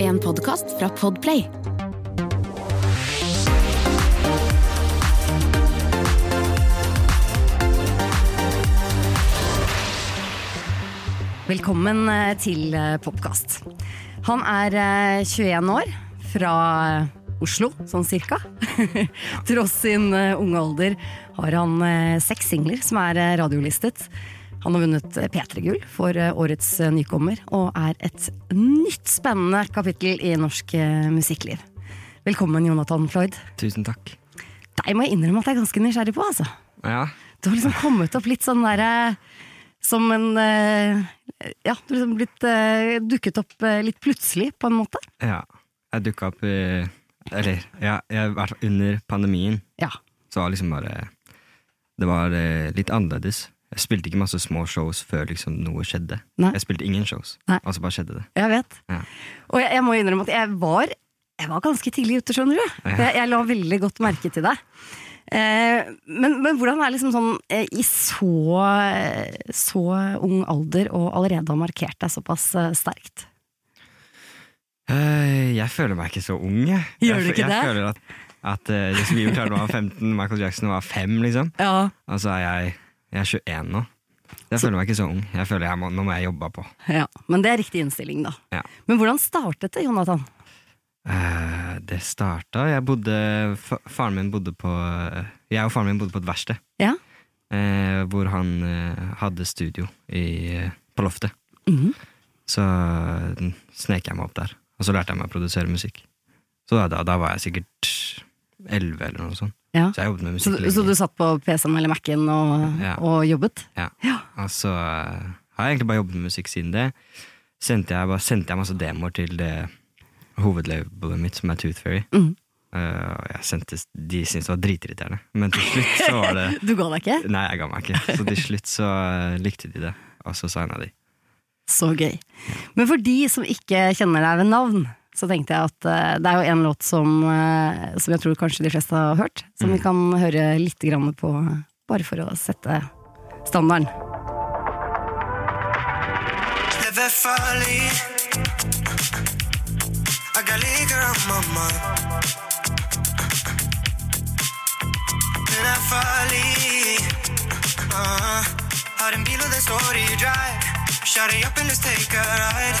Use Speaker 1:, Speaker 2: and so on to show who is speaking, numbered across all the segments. Speaker 1: En podkast fra Podplay.
Speaker 2: Velkommen eh, til eh, Popkast. Han er eh, 21 år, fra Oslo, sånn cirka. Tross sin eh, unge alder har han eh, seks singler som er eh, radiolistet. Han har vunnet eh, P3-gull for eh, årets eh, nykommer, og er et nytt spennende kapittel i norsk eh, musikkliv. Velkommen, Jonathan Floyd.
Speaker 3: Tusen takk.
Speaker 2: Deg må jeg innrømme at jeg er ganske nysgjerrig på, altså.
Speaker 3: Ja,
Speaker 2: Du har liksom kommet opp litt sånn derre Som en eh, Ja, du har liksom blitt eh, dukket opp eh, litt plutselig, på en måte.
Speaker 3: ja. Jeg dukka opp i Eller, ja, jeg, i hvert fall under pandemien
Speaker 2: Ja.
Speaker 3: så var liksom bare Det var eh, litt annerledes. Jeg spilte ikke masse små shows før liksom noe skjedde.
Speaker 2: Nei.
Speaker 3: Jeg spilte ingen shows,
Speaker 2: Nei.
Speaker 3: og så bare skjedde det.
Speaker 2: Jeg vet.
Speaker 3: Ja.
Speaker 2: Og jeg, jeg må innrømme at jeg var, jeg var ganske tidlig ute, skjønner du.
Speaker 3: Ja.
Speaker 2: Jeg, jeg la veldig godt merke til deg. Eh, men, men hvordan er liksom sånn eh, i så, så ung alder og allerede har markert deg såpass eh, sterkt?
Speaker 3: Eh, Jeg føler meg ikke så ung, jeg.
Speaker 2: Gjør du
Speaker 3: jeg, fø-
Speaker 2: ikke
Speaker 3: jeg
Speaker 2: det?
Speaker 3: føler at, at eh, Justin Bieber klarte å være 15, Michael Jackson var 5, liksom.
Speaker 2: Ja,
Speaker 3: Og så er jeg, jeg er 21 nå. Jeg føler meg ikke så ung. Jeg føler jeg må, Nå må jeg jobbe på.
Speaker 2: ja. Men det er riktig innstilling, da.
Speaker 3: Ja.
Speaker 2: Men hvordan startet det, Jonathan?
Speaker 3: Eh, det starta Jeg bodde fa Faren min bodde på Jeg og faren min bodde på et verksted.
Speaker 2: Ja?
Speaker 3: eh, hvor han eh, hadde studio i, på loftet.
Speaker 2: Mhm.
Speaker 3: Så eh, snek jeg meg opp der, og så lærte jeg meg å produsere musikk. Så da, da, da var jeg sikkert elleve eller noe sånt.
Speaker 2: ja.
Speaker 3: Så jeg jobbet med
Speaker 2: Så,
Speaker 3: musikk
Speaker 2: så
Speaker 3: lenge.
Speaker 2: du satt på PC-en eller Mac-en og,
Speaker 3: Ja.
Speaker 2: og jobbet?
Speaker 3: Ja.
Speaker 2: Ja.
Speaker 3: Og så eh, har jeg egentlig bare jobbet med musikk siden det. Sendte jeg, bare, sendte jeg masse demoer til det hovedlabelet mitt, som er Tooth Fairy.
Speaker 2: Mhm.
Speaker 3: Eh, og jeg sendte, de syntes det var dritirriterende, men til slutt så var det
Speaker 2: Du ga deg ikke?
Speaker 3: Nei, jeg ga meg ikke. Så til slutt så eh, likte de det, og så signa de.
Speaker 2: Så gøy. Men for de som ikke kjenner deg ved navn, så tenkte jeg at eh, det er jo en låt som, eh, som jeg tror kanskje de fleste har hørt, som
Speaker 3: Mm.
Speaker 2: vi kan høre litt grann på, bare for å sette standarden.
Speaker 4: Jeg er farlig Jeg liker mamma Hun er farlig Ah, Har en bil og det står i drive Kjære opp eller take a ride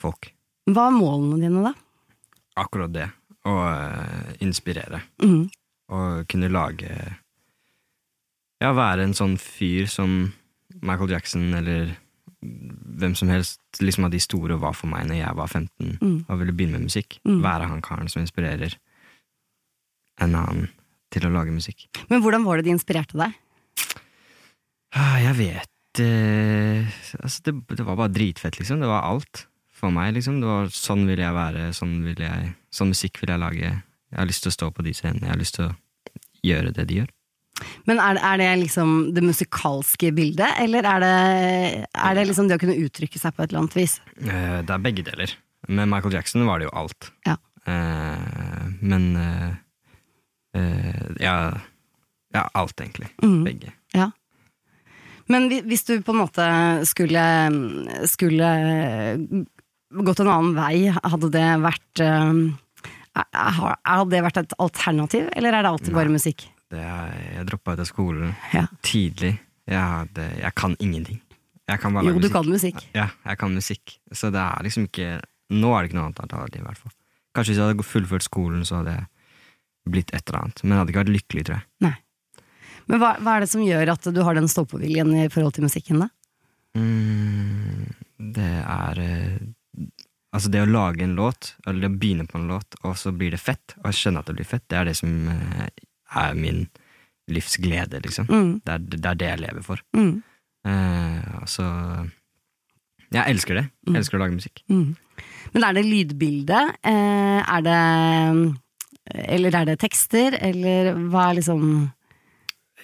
Speaker 3: folk.
Speaker 2: Hva er målene dine, da?
Speaker 3: Akkurat det. Å eh, inspirere.
Speaker 2: Mhm.
Speaker 3: Og kunne lage Ja, være en sånn fyr som Michael Jackson eller hvem som helst liksom av de store var for meg når jeg var 15
Speaker 2: Mm.
Speaker 3: og ville begynne med musikk.
Speaker 2: Mm.
Speaker 3: Være han karen som inspirerer en annen til å lage musikk.
Speaker 2: Men hvordan var det de inspirerte deg?
Speaker 3: Ah, Jeg vet eh, altså det, det var bare dritfett, liksom. Det var alt for meg. liksom. Det var Sånn vil jeg være, sånn, vil jeg, sånn musikk vil jeg lage. Jeg har lyst til å stå på de scenene, jeg har lyst til å gjøre det de gjør.
Speaker 2: Men er, det- er det liksom det musikalske bildet, eller er det, er det liksom det å kunne uttrykke seg på et eller annet vis?
Speaker 3: Eh, Det er begge deler. Med Michael Jackson var det jo alt.
Speaker 2: Ja.
Speaker 3: Eh, men eh, eh, ja, ja, alt, egentlig.
Speaker 2: Mm.
Speaker 3: Begge.
Speaker 2: Ja. Men hvi- hvis du på en måte skulle, skulle gått en annen vei, hadde det vært eh, er- har- Hadde det vært et alternativ, eller er det alltid bare musikk?
Speaker 3: Det er, jeg droppa ut av skolen
Speaker 2: Ja.
Speaker 3: tidlig. Jeg, hadde, jeg kan ingenting. Jeg kan bare
Speaker 2: Jo,
Speaker 3: lage
Speaker 2: du
Speaker 3: musikk.
Speaker 2: kan musikk.
Speaker 3: Ja, jeg kan musikk. Så det er liksom ikke Nå er det ikke noe annet alternativ, i hvert fall. Kanskje hvis jeg hadde fullført skolen, så hadde jeg blitt et eller annet. Men jeg hadde ikke vært lykkelig, tror jeg.
Speaker 2: Nei. Men hva, hva er det som gjør at du har den stå-på-viljen i forhold til musikken, da?
Speaker 3: Mm, det er eh, Altså, det å lage en låt, eller det å begynne på en låt, og så blir det fett, og skjønne at det blir fett, det er det som eh, er min livsglede, liksom.
Speaker 2: Mm.
Speaker 3: Det, er, det er det jeg lever for.
Speaker 2: Mm.
Speaker 3: Eh, altså Jeg elsker det.
Speaker 2: Mm.
Speaker 3: Jeg elsker å lage musikk.
Speaker 2: Men er det lydbildet? Eh, er det Eller er det tekster? Eller hva er liksom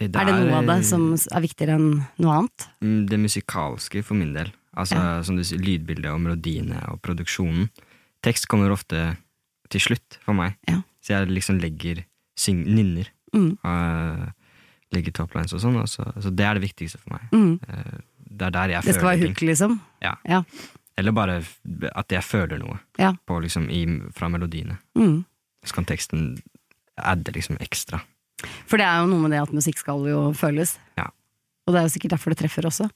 Speaker 2: Er eh, det noe av det som er viktigere enn noe annet?
Speaker 3: Mm, Det musikalske for min del. Altså som du sier, Lydbildet og melodiene og produksjonen. Tekst kommer ofte til slutt for meg.
Speaker 2: Ja.
Speaker 3: Så jeg liksom legger syng, nynner.
Speaker 2: Mm.
Speaker 3: og, eh, legger toplines og sånn. Og så, så det er det viktigste for meg.
Speaker 2: Mm.
Speaker 3: Eh, Det er der jeg
Speaker 2: Det skal
Speaker 3: føler
Speaker 2: være
Speaker 3: ting.
Speaker 2: hook, liksom?
Speaker 3: Ja.
Speaker 2: Ja.
Speaker 3: Eller bare f- at jeg føler noe
Speaker 2: ja.
Speaker 3: på, liksom, i, fra melodiene.
Speaker 2: Mm.
Speaker 3: Så kan teksten adde liksom ekstra.
Speaker 2: For det er jo noe med det at musikk skal jo føles.
Speaker 3: Ja.
Speaker 2: Og det er jo sikkert derfor det treffer også.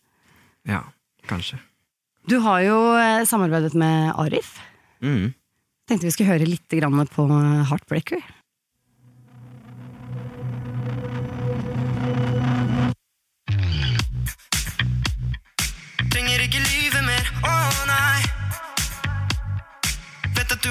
Speaker 3: Ja, kanskje.
Speaker 2: Du har jo eh, samarbeidet med Arif.
Speaker 3: Mm.
Speaker 2: Tenkte vi skulle høre litt grann på Heartbreaker.
Speaker 4: Trenger ikke lyve mer, å nei Vet at du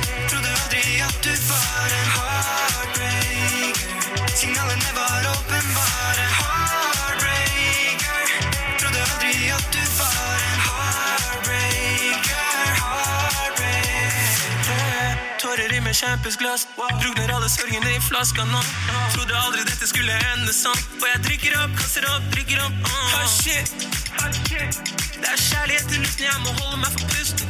Speaker 4: Trodde aldri at du var en heartbreaker. Signalene var åpenbare. Heartbreaker. Trodde aldri at du var en heartbreaker. Heartbreaker. Tårer i med kjempesglass. Drukner alle sørgene i flaska nå. Trodde aldri dette skulle ende sånn. Og jeg drikker opp, kaster opp, drikker opp. Uh. Ah, shit. Det er kjærlighet til luften, jeg må holde meg for pusten.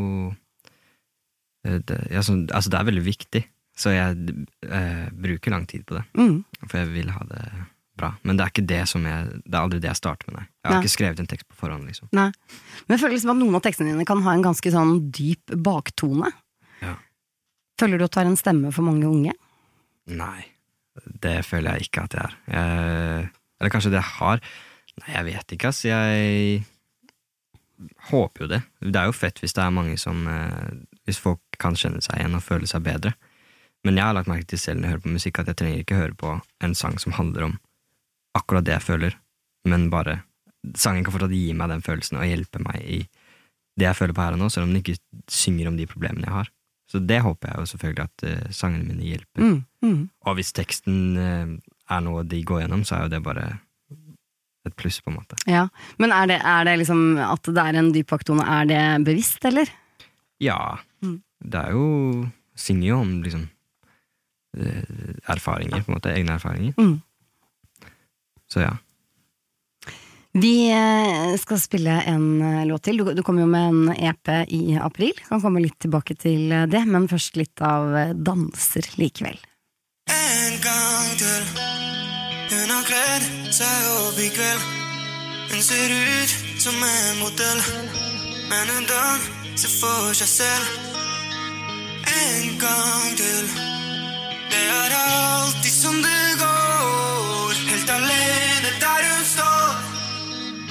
Speaker 3: eh, det, ja, sånn- Altså, det er veldig viktig, så jeg eh, bruker lang tid på det.
Speaker 2: Mm.
Speaker 3: For jeg vil ha det bra. Men det er ikke det som jeg Det er aldri det jeg starter med, nei. Jeg har
Speaker 2: Nei.
Speaker 3: ikke skrevet en tekst på forhånd, liksom.
Speaker 2: Nei. Men jeg føler liksom at noen av tekstene dine kan ha en ganske sånn dyp baktone.
Speaker 3: Ja.
Speaker 2: Føler du at du har en stemme for mange unge?
Speaker 3: Nei. Det føler jeg ikke at jeg er. Jeg, eller kanskje det jeg har. Nei, jeg vet ikke, ass. Jeg håper jo det. Det er jo fett hvis det er mange som eh, Hvis folk kan kjenne seg igjen og føle seg bedre. Men jeg har lagt merke til selv når jeg hører på musikk, at jeg trenger ikke høre på en sang som handler om akkurat det jeg føler, men bare Sangen kan fortsatt gi meg den følelsen og hjelpe meg i det jeg føler på her og nå, selv om den ikke synger om de problemene jeg har. Så det håper jeg jo selvfølgelig at eh, sangene mine hjelper.
Speaker 2: Mm. Mm.
Speaker 3: Og hvis teksten eh, er noe de går gjennom, så er jo det bare et pluss, på en måte.
Speaker 2: Ja. Men er det, er det liksom at det er en dyp baktone, er det bevisst, eller?
Speaker 3: Ja.
Speaker 2: Mm.
Speaker 3: Det er jo Synger jo om liksom eh, erfaringer, på en måte. Egne erfaringer.
Speaker 2: Mm.
Speaker 3: Så ja.
Speaker 2: Vi eh, skal spille en eh, låt til. Du, du kommer jo med en EP i april. Kan komme litt tilbake til eh, det, men først litt av eh, danser likevel.
Speaker 4: En gang til Hun har kledd seg opp i kveld Hun ser ut som en modell Men hun danser for seg selv En gang til Det er alltid som det går Helt alene der hun står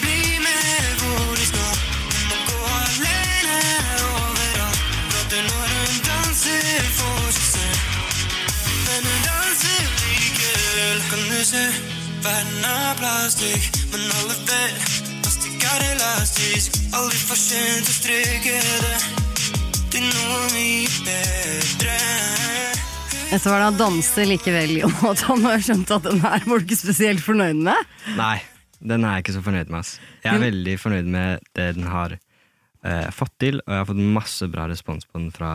Speaker 4: bli med hvor de skal. Hun må gå alene overalt. Gråter når hun danser for seg selv. Men hun danser likevel. Kan du se verden er plastikk, men alle vet plastikk er elastisk. Aldri for sent å streke det til noe mye bedre.
Speaker 2: Dette var da 'Danse likevel', Jonathan. Har jeg skjønt at den her var du ikke spesielt fornøyd med?
Speaker 3: Nei, den er jeg ikke så fornøyd med, ass. Jeg er veldig fornøyd med det den har eh, fått til, og jeg har fått masse bra respons på den fra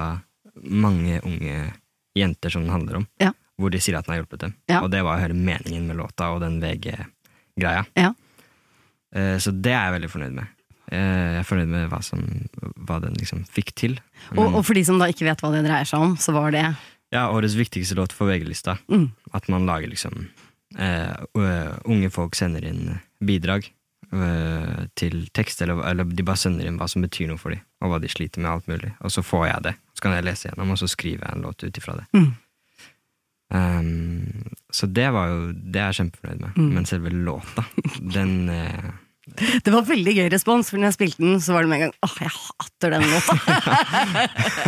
Speaker 3: mange unge jenter som den handler om,
Speaker 2: Ja.
Speaker 3: hvor de sier at den har hjulpet dem.
Speaker 2: Ja.
Speaker 3: Og det var jo hele meningen med låta og den VG-greia.
Speaker 2: Ja.
Speaker 3: Eh, så det er jeg veldig fornøyd med. Eh, jeg er fornøyd med hva, som, hva den liksom fikk til. Mm.
Speaker 2: Og, og for de som da ikke vet hva det dreier seg om, så var det
Speaker 3: Ja, årets viktigste låt for VG-lista.
Speaker 2: Mm.
Speaker 3: At man lager liksom eh, ø- Unge folk sender inn bidrag ø, til tekst, eller, eller de bare sender inn hva som betyr noe for dem, og hva de sliter med, alt mulig. Og så får jeg det. Så kan jeg lese gjennom, og så skriver jeg en låt ut ifra det.
Speaker 2: Mm.
Speaker 3: Um, så det var jo Det er jeg kjempefornøyd med.
Speaker 2: Mm.
Speaker 3: Men selve låta, den eh,
Speaker 2: Det var veldig gøy respons, for når jeg spilte den, så var det med en gang Åh, jeg hater den låta!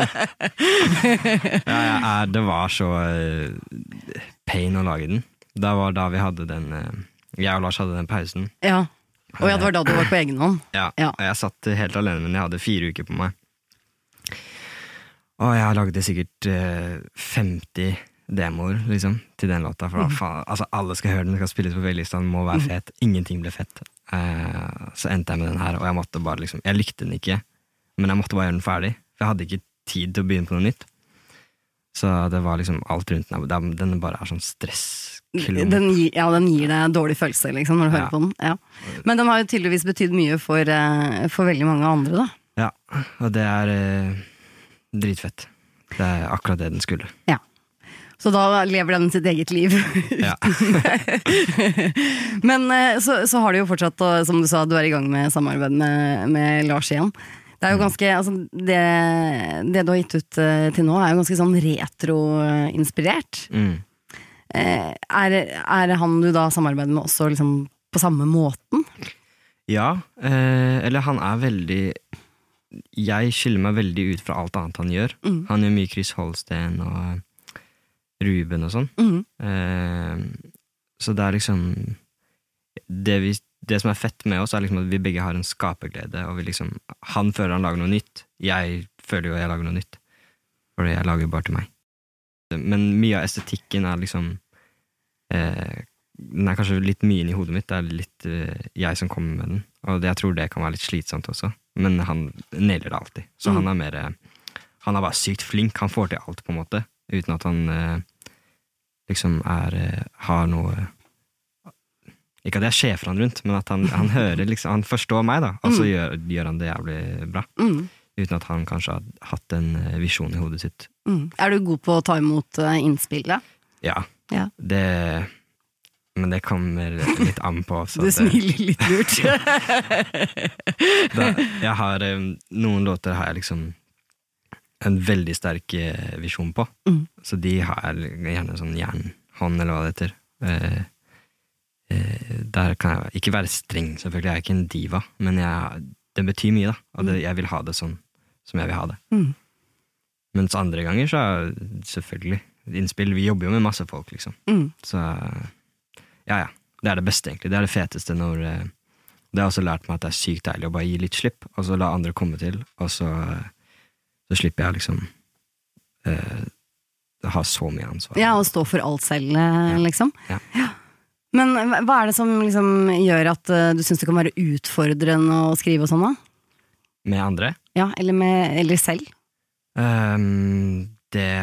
Speaker 3: Ja, jeg er, det var så eh, pain å lage den. Det var da vi hadde den eh, Jeg og Lars hadde den pausen.
Speaker 2: ja. Og ja, det var da du var på egen hånd.
Speaker 3: Ja,
Speaker 2: Ja.
Speaker 3: og jeg satt helt alene, men jeg hadde fire uker på meg. Og jeg lagde sikkert eh, 50 demoer liksom, til den låta.
Speaker 2: Mhm.
Speaker 3: For da, faen, altså, alle skal høre den, den skal spilles på VG-lista, den må være fet. Ingenting ble fett. Eh, så endte jeg med den her, og jeg måtte bare liksom Jeg likte den ikke, men jeg måtte bare gjøre den ferdig. For jeg hadde ikke tid til å begynne på noe nytt. Så det var liksom alt rundt den. Den- Den bare er sånn stressklump.
Speaker 2: Den, gir- ja, den gir deg dårlig følelse liksom, når du hører
Speaker 3: Ja.
Speaker 2: på den. Ja. Men den har jo tydeligvis betydd mye for, eh, for veldig mange andre, da.
Speaker 3: Ja, og det er eh, dritfett. Det er akkurat det den skulle.
Speaker 2: Ja. Så da lever den sitt eget liv.
Speaker 3: Ja.
Speaker 2: Men eh, så, så har du jo fortsatt, og som du sa, du er i gang med samarbeid med, med Lars igjen. Det er jo ganske, altså det, det du har gitt ut eh, til nå, er jo ganske sånn retroinspirert.
Speaker 3: Mm.
Speaker 2: Eh, er, er han du da samarbeider med også liksom på samme måten?
Speaker 3: Ja, eh, eller han er veldig Jeg skiller meg veldig ut fra alt annet han gjør.
Speaker 2: Mm.
Speaker 3: Han gjør mye Chris Holsten og Ruben og sånn.
Speaker 2: Mhm.
Speaker 3: Eh, så det er liksom det, vi, det som er fett med oss, er liksom at vi begge har en skaperglede. Og vi liksom, han føler han lager noe nytt. Jeg føler jo jeg lager noe nytt. For jeg lager jo bare til meg. Men mye av estetikken er liksom eh, Den er kanskje litt mye inn i hodet mitt. Det er litt eh, jeg som kommer med den. Og det, jeg tror det kan være litt slitsomt også. Men han nailer det alltid. Så
Speaker 2: Mm.
Speaker 3: han er mer eh, Han er bare sykt flink. Han får til alt, på en måte. Uten at han eh, liksom er eh, Har noe ikke at jeg sjefer han rundt, men at han, han hører liksom, han forstår meg, da. Og så gjør, gjør han det jævlig bra.
Speaker 2: Mm.
Speaker 3: Uten at han kanskje har hatt en eh, visjon i hodet sitt.
Speaker 2: Mm. Er du god på å ta imot eh, innspill, da?
Speaker 3: Ja,
Speaker 2: Ja.
Speaker 3: det Men det kommer litt an på. Så
Speaker 2: Du
Speaker 3: det,
Speaker 2: smiler litt lurt.
Speaker 3: da, jeg har, eh, noen låter har jeg liksom en veldig sterk eh, visjon på.
Speaker 2: Mm.
Speaker 3: Så de har jeg gjerne sånn jernhånd, eller hva det heter. Eh, eh, der kan jeg ikke være streng, selvfølgelig. Jeg er ikke en diva, men jeg, det betyr mye, da. Og det, jeg vil ha det sånn som jeg vil ha det.
Speaker 2: Mm.
Speaker 3: Mens andre ganger så er selvfølgelig innspill Vi jobber jo med masse folk, liksom.
Speaker 2: Mm.
Speaker 3: Så ja, ja. Det er det beste, egentlig. Det er det feteste når eh, Det har også lært meg at det er sykt deilig å bare gi litt slipp, og så la andre komme til, og så, eh, så slipper jeg liksom eh, ha så mye ansvar.
Speaker 2: Ja, og stå for alt selv, eh, liksom.
Speaker 3: Ja.
Speaker 2: Men eh, hva- hva er det som liksom gjør at eh, du syns det kan være utfordrende å skrive og sånn, da?
Speaker 3: Med andre.
Speaker 2: Ja, eller, med, eller selv?
Speaker 3: Ehm, det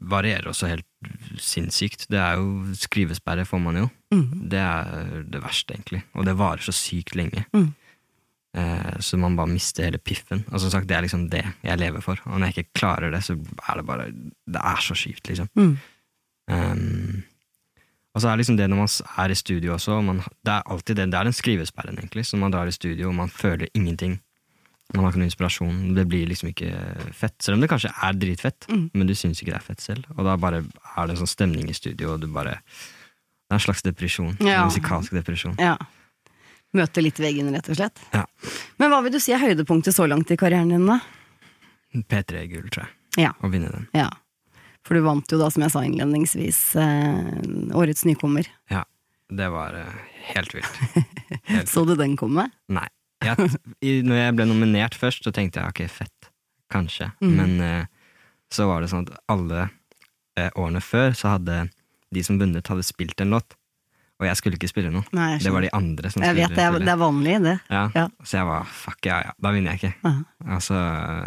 Speaker 3: varierer også helt sinnssykt. Det er jo Skrivesperre får man jo. Det er det verste, egentlig. Og det varer så sykt lenge.
Speaker 2: Mhm.
Speaker 3: Eh, så man bare mister hele piffen. Og som sagt, det er liksom det jeg lever for. Og når jeg ikke klarer det, så er det bare Det er så skivt, liksom.
Speaker 2: Mhm.
Speaker 3: Ehm, og så er det liksom det når man s- er i studio også, og man, det er alltid det. Det er den skrivesperren, egentlig. Så man drar i studio, og man føler ingenting. Man har ikke noe inspirasjon. Det blir liksom ikke fett. Selv om det kanskje er dritfett, men du syns ikke det er fett selv. Og da bare er det en sånn stemning i studio, og du bare Det er en slags depresjon.
Speaker 2: Ja.
Speaker 3: En musikalsk depresjon.
Speaker 2: Ja. Møte litt veggen, rett og slett.
Speaker 3: Ja.
Speaker 2: Men hva vil du si er høydepunktet så langt i karrieren din, da?
Speaker 3: P3-gull, tror jeg.
Speaker 2: Ja.
Speaker 3: Å vinne den.
Speaker 2: ja. For du vant jo da, som jeg sa innledningsvis, eh, årets nykommer.
Speaker 3: Ja. Det var eh, helt vilt.
Speaker 2: Så du den komme?
Speaker 3: Nei. Jeg, i, når jeg ble nominert først, så tenkte jeg ok, fett. Kanskje.
Speaker 2: Mhm.
Speaker 3: Men eh, så var det sånn at alle eh, årene før så hadde de som vunnet, hadde spilt en låt. Og jeg skulle ikke spille noe.
Speaker 2: Nei, jeg
Speaker 3: det var de andre som
Speaker 2: Jeg
Speaker 3: skulle
Speaker 2: vet det er,
Speaker 3: spille.
Speaker 2: det er vanlig, det.
Speaker 3: Ja.
Speaker 2: Ja.
Speaker 3: Så jeg var fuck, ja ja, da vinner jeg ikke.
Speaker 2: Ja.
Speaker 3: Altså,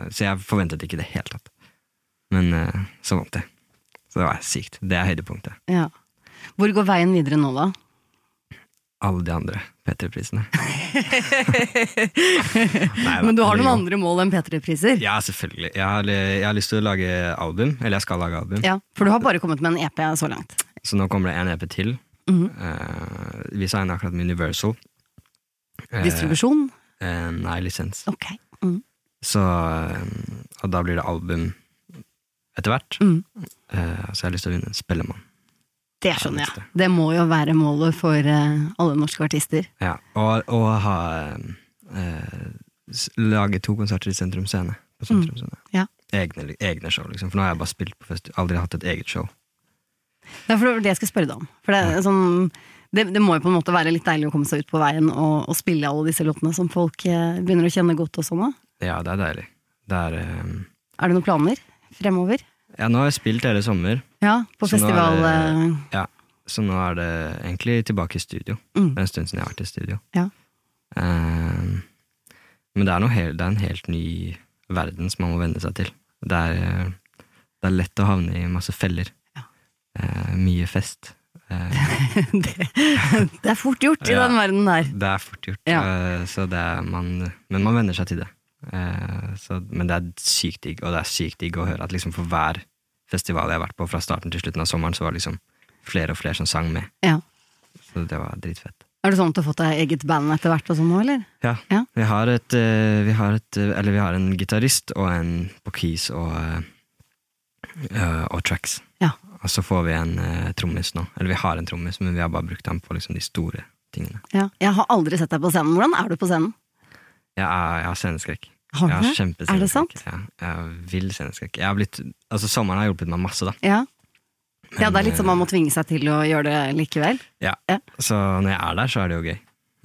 Speaker 3: så jeg forventet ikke det i det hele tatt. Men eh, så vant jeg. Så det var sykt. Det er høydepunktet.
Speaker 2: Ja. Hvor går veien videre nå, da?
Speaker 3: Alle de andre P3-prisene. Nei da,
Speaker 2: Men du har
Speaker 3: det
Speaker 2: noen
Speaker 3: går.
Speaker 2: andre mål enn P3-priser?
Speaker 3: Ja, selvfølgelig. Jeg har, jeg har lyst til å lage album, eller jeg skal lage album.
Speaker 2: Ja, for du har bare kommet med en EP så langt.
Speaker 3: Så nå kommer det en EP til.
Speaker 2: Mhm.
Speaker 3: Eh, vi signer akkurat med Universal. Eh,
Speaker 2: Distribusjon?
Speaker 3: eh, nei, lisens.
Speaker 2: Ok. Mm.
Speaker 3: Så eh, Og da blir det album etter hvert.
Speaker 2: Mhm.
Speaker 3: Eh, så jeg har lyst til å vinne en Spellemann.
Speaker 2: Det skjønner jeg. Det må jo være målet for eh, alle norske artister.
Speaker 3: Ja, og, og ha eh, s- lage to konserter i Sentrum Scene. På Sentrum Scene.
Speaker 2: Mm. Ja.
Speaker 3: Egne, egne show, liksom. For nå har jeg bare spilt på fest, aldri hatt et eget show.
Speaker 2: Det er for det var det jeg skulle spørre deg om. For det, er sånn, det, det må jo på en måte være litt deilig å komme seg ut på veien og, og spille alle disse låtene som folk eh, begynner å kjenne godt og sånn. da.
Speaker 3: Ja, det er deilig. Det er eh,
Speaker 2: Er det noen planer fremover?
Speaker 3: Ja, nå har jeg spilt hele sommer,
Speaker 2: Ja, på
Speaker 3: Så nå Sånn er
Speaker 2: festival eh,
Speaker 3: det- ja. så nå er det egentlig tilbake i studio.
Speaker 2: Mm.
Speaker 3: Det er en stund siden jeg har vært i studio.
Speaker 2: Ja.
Speaker 3: Eh, men det er, noe hel, det er en helt ny verden som man må venne seg til. Det er, eh, det er lett å havne i masse feller. Eh, mye fest. Eh,
Speaker 2: det, det er fort gjort i
Speaker 3: Ja.
Speaker 2: den verden der.
Speaker 3: det er fort gjort,
Speaker 2: Ja.
Speaker 3: eh, så det er man, men man venner seg til det. Eh, så, men det er sykt digg, og det er sykt digg å høre at liksom for hver festival jeg har vært på, fra starten til slutten av sommeren, så var det liksom flere og flere som sang med.
Speaker 2: Ja.
Speaker 3: Så det var dritfett.
Speaker 2: Er det sånn at du har fått deg eget band etter hvert og sånn nå, eller?
Speaker 3: Ja.
Speaker 2: Ja.
Speaker 3: Vi, har et, eh, vi, har et, eh, eller vi har en gitarist og en på keys og, eh, eh, og tracks.
Speaker 2: Ja.
Speaker 3: Og så får vi en eh, trommis nå. Eller vi har en trommis, men vi har bare brukt ham på liksom, de store tingene.
Speaker 2: Ja. Jeg har aldri sett deg på scenen. Hvordan er du på scenen?
Speaker 3: Jeg, er, jeg har sceneskrekk.
Speaker 2: Har du
Speaker 3: jeg har
Speaker 2: det? Er det sant?
Speaker 3: kjempesceneskrekk. Ja, jeg har vill sceneskrekk. Jeg har blitt, altså, sommeren har hjulpet meg masse, da.
Speaker 2: Ja. Ja, det er litt sånn man må tvinge seg til å gjøre det likevel.
Speaker 3: Ja.
Speaker 2: Ja.
Speaker 3: Så når jeg er der, så er det jo gøy.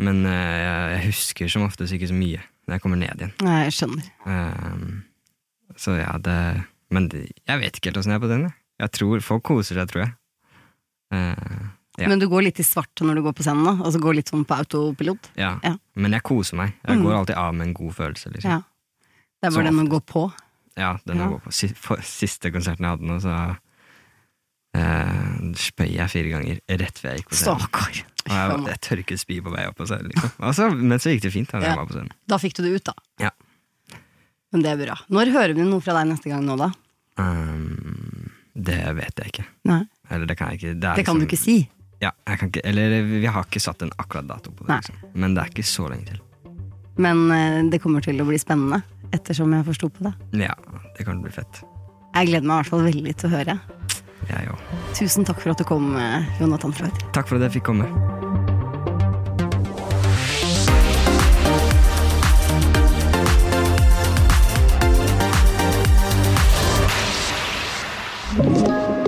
Speaker 3: Men eh, jeg, jeg husker som oftest ikke så mye når jeg kommer ned igjen.
Speaker 2: Nei, Jeg skjønner.
Speaker 3: Ehm, så ja, det Men det, jeg vet ikke helt åssen jeg er på den. jeg. Jeg tror Folk koser seg, tror jeg. Eh, Ja.
Speaker 2: Men du går litt i svart når du går på scenen, da? Altså går litt sånn på autopilot?
Speaker 3: ja.
Speaker 2: Ja.
Speaker 3: Men jeg koser meg. Jeg
Speaker 2: Mm.
Speaker 3: går alltid av med en god følelse. liksom.
Speaker 2: Ja. Det er
Speaker 3: Så
Speaker 2: bare den å gå på.
Speaker 3: Ja, den
Speaker 2: Ja.
Speaker 3: jeg går på. Si- for- Siste konserten jeg hadde nå, så eh, spøy jeg fire ganger rett før jeg gikk på scenen.
Speaker 2: Stakkar.
Speaker 3: Og jeg, jeg tørket spy på vei opp på scenen. Liksom. Altså, men så gikk det fint da når
Speaker 2: Ja.
Speaker 3: jeg var på scenen.
Speaker 2: Da fikk du det ut, da.
Speaker 3: Ja.
Speaker 2: Men det er bra. Når hører vi noe fra deg neste gang nå, da?
Speaker 3: Ehm, det vet jeg ikke.
Speaker 2: Nei.
Speaker 3: Eller det kan jeg ikke. er
Speaker 2: Det kan du
Speaker 3: liksom-
Speaker 2: ikke si.
Speaker 3: Ja, jeg kan ikke, eller vi har ikke satt en akkurat dato på det.
Speaker 2: Nei.
Speaker 3: Liksom. Men det er ikke så lenge til.
Speaker 2: Men eh, det kommer til å bli spennende, ettersom jeg forsto på det.
Speaker 3: Ja, det kan bli fett.
Speaker 2: Jeg gleder meg i hvert fall veldig til å høre.
Speaker 3: Jeg òg.
Speaker 2: Tusen takk for at du kom, eh, Jonathan Freud.
Speaker 3: Takk for at jeg fikk komme.